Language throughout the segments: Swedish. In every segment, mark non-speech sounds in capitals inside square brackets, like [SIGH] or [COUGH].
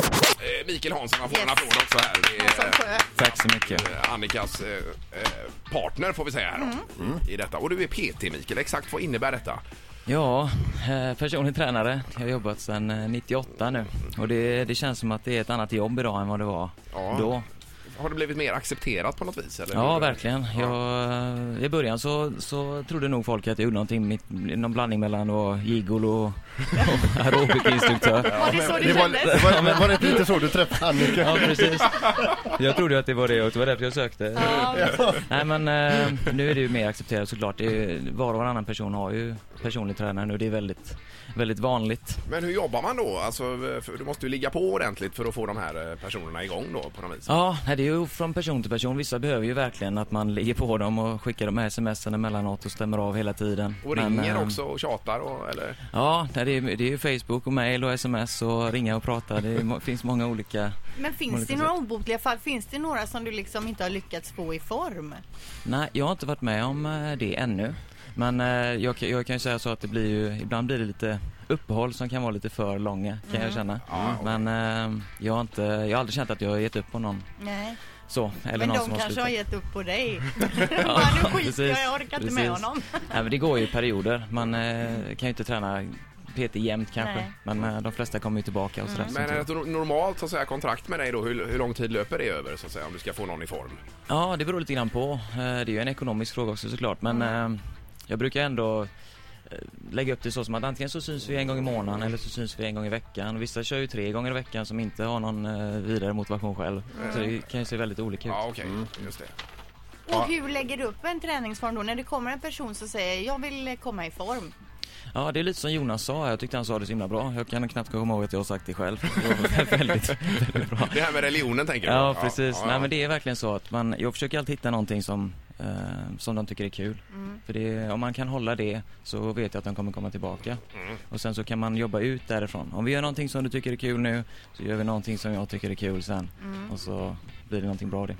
eh, Mikael Hansson, han får en Yes. applåd också här. Det är, Som sjö. Tack så mycket. eh, Annikas eh, eh, partner får vi säga här då, Mm. i detta. Och du är PT Mikael, exakt vad innebär detta? Ja, eh, personlig tränare. Jag har jobbat sedan eh, 98 nu. Och det, det känns som att det är ett annat jobb idag än vad det var Ja. då. Har det blivit mer accepterat på något vis? Eller? Ja, verkligen. Jag, eh, I början så, så trodde nog folk att jag gjorde någonting, mitt, någon blandning mellan att vara gigolo och, [LAUGHS] och aerobikinstruktör. Var det så det Det var, kändes? det var, men var det inte lite så du träffade Annika? Ja, precis. Jag trodde ju att det var det och det var därför jag sökte. Nej men eh, nu är det ju mer accepterat såklart. Det är, var och varannan person har ju personlig tränare nu. Det är väldigt, väldigt vanligt. Men hur jobbar man då? Alltså, eh, för du måste ju ligga på ordentligt för att få de här eh, personerna igång då på något vis. Ja, nej, det är ju från person till person. Vissa behöver ju verkligen att man ligger på dem och skickar de här sms'en emellanåt och stämmer av hela tiden. Och Men, ringer eh, också och tjatar och, eller? Ja, nej, det är, det är ju Facebook och mail och sms och ringa och prata. Det är, må- finns många olika. Men finns Olika det några sätt. obotliga fall? Finns det några som du liksom inte har lyckats få i form? Nej, jag har inte varit med om eh, det ännu. Men eh, jag, kan- jag kan ju säga så att det blir ju, ibland blir det lite uppehåll som kan vara lite för långa kan Mm. jag känna. Ja, Men eh, jag, har inte, jag har aldrig känt att jag har gett upp på någon Nej. så. Eller Men någon de som kanske har slutat. gett upp på [LAUGHS] dig. Bara, nu skiter jag, jag orkar inte med precis. honom. Nej, men det går ju i perioder. Man eh, kan ju inte träna PT jämt kanske. Nej. Men eh, de flesta kommer ju tillbaka och sådär. Men eh, Så- ett no- normalt så att säga, kontrakt med dig då, hur, hur lång tid löper det över så att säga om du ska få någon i form? Ja, det beror lite grann på. Eh, Det är ju en ekonomisk fråga också såklart. Men eh, jag brukar ändå eh, lägga upp det så som att antingen så syns vi en gång i månaden eller så syns vi en gång i veckan. Vissa kör ju tre gånger i veckan som inte har någon eh, vidare motivation själv. Så det kan ju se väldigt olika ut. Mm. Ja, okej. Mm. Just det. Och hur lägger du upp en träningsform då när det kommer en person som säger jag vill komma i form? Ja, det är lite som Jonas sa här. Jag tyckte han sa det så himla bra. Jag kan knappt komma ihåg att jag har sagt det själv. Det var [LAUGHS] väldigt, väldigt bra. Det här med religionen tänker du på? Ja, precis. ja, ja. Nej, men det är verkligen så att man, jag försöker alltid hitta någonting som, eh, som de tycker är kul. För det, om man kan hålla det så vet jag att de kommer komma tillbaka. Mm. Och sen så kan man jobba ut därifrån. Om vi gör någonting som du tycker är kul nu så gör vi någonting som jag tycker är kul sen. Och så blir det någonting bra av det.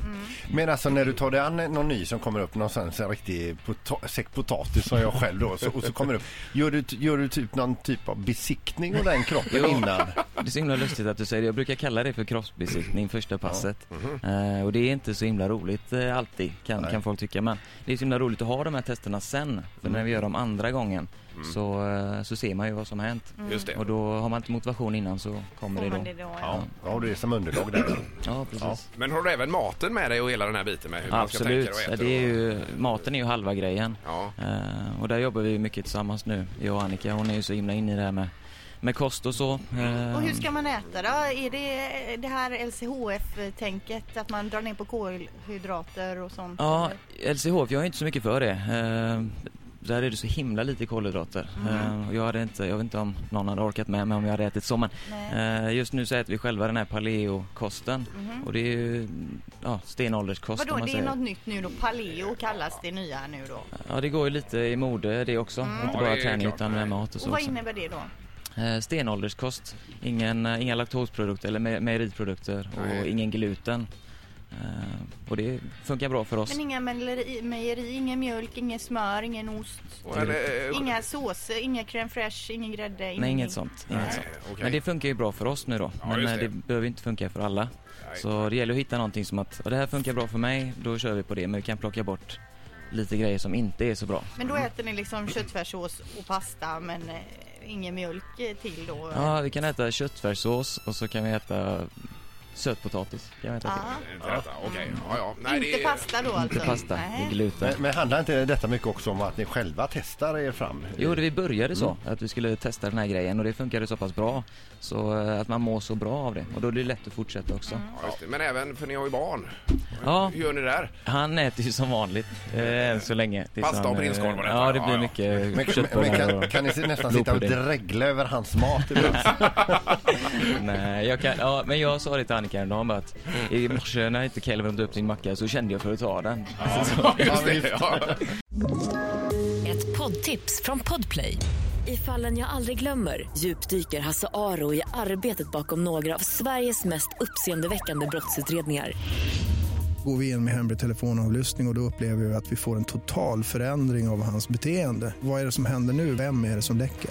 Men alltså när du tar dig an någon ny som kommer upp, någon sån här riktig pota- säck potatis som jag själv då, så, och så kommer det upp. Gör du, t- gör du typ någon typ av besiktning av den kroppen innan? Det är så himla lustigt att du säger det. Jag brukar kalla det för kroppsbesiktning, första passet. Mhm. Eh, och det är inte så himla roligt eh, alltid, kan, kan folk tycka. Men det är så himla roligt att ha de här testerna sen. För Mm. när vi gör dem andra gången så, eh, så ser man ju vad som har hänt. Just det. Och då har man inte motivation innan så kommer Får det man då. det då? Ja, då har du det som underlag där. Ja, precis. Men har du även maten med dig och hela den här biten med hur man ska Absolut. tänka och Ja, äta? det är ju, maten är ju halva grejen. Ja. Eh, och där jobbar vi ju mycket tillsammans nu, jag och Annika. Hon är ju så himla inne i det här med, med kost och så. Eh, Och hur ska man äta då? Är det det här LCHF-tänket att man drar ner på kolhydrater och sånt? Ja, eller? LCHF, jag är inte så mycket för det. Eh, där är det så himla lite kolhydrater. Mm. Eh, och jag, hade inte, jag vet inte om någon hade orkat med mig om jag hade ätit så men eh, just nu så äter vi själva den här paleokosten. Och det är ju ja, stenålderskost Mhm. Mm. Vadå, om man det är säger. något nytt nu då? Paleo kallas det nya här nu då? Ja, det går ju lite i mode det också. Inte Mm. Ja, det bara är träning klart. utan med mat och så. Och vad också. innebär det då? Eh, stenålderskost. Ingen, eh, inga laktosprodukter eller me- mejeriprodukter och Nej. ingen gluten. Eh, och det funkar bra för oss. Men inga mejeri, mejeri ingen mjölk, ingen smör, ingen ost, Och en, eh, inga såser, inga crème fraîche, ingen grädde? Nej, ingenting. inget sånt. Inget sånt. okej. Men det funkar ju bra för oss nu då. Ja, Men just eh, det. det behöver inte funka för alla. Nej. Så det gäller att hitta någonting som att, och det här funkar bra för mig, då kör vi på det. Men vi kan plocka bort lite grejer som inte är så bra. Men då äter ni liksom köttfärssås och pasta men eh, ingen mjölk eh, till då? Ja, vi kan äta köttfärssås och så kan vi äta sötpotatis. Kan vi äta till. Ah, Inte detta, okej. Ja, ja. Nej, inte det är- pasta då alltså? Inte pasta, Nej. det är gluten. Men, men handlar inte detta mycket också om att ni själva testar er fram? Jo, det vi började så, att vi skulle testa den här grejen och det funkade så pass bra. Så eh, att man mår så bra av det och då är det lätt att fortsätta också. Ja, just det. Men även, för ni har ju barn. Ja, Hur gör ni där? han äter ju som vanligt eh, än så länge. Tills Pasta och han, eh, prinskorv och detta. Ja, det Ja, blir ja. mycket Men, men, men köttbullar kan, och- kan ni se- nästan sitta och Blodpudding. dregla över hans mat ibland? Nej, jag kan, ja, men jag sa det till Annika häromdagen bara att i morse när inte Kelvin åt upp sin macka så kände jag för att ta den. Just det, ja. Ett poddtips från Podplay. I fallen jag aldrig glömmer djupdyker Hasse Aro i arbetet bakom några av Sveriges mest uppseendeväckande brottsutredningar. Går vi in med hemlig telefonavlyssning och, och då upplever vi att vi får en total förändring av hans beteende. Vad är det som händer nu? Vem är det som läcker?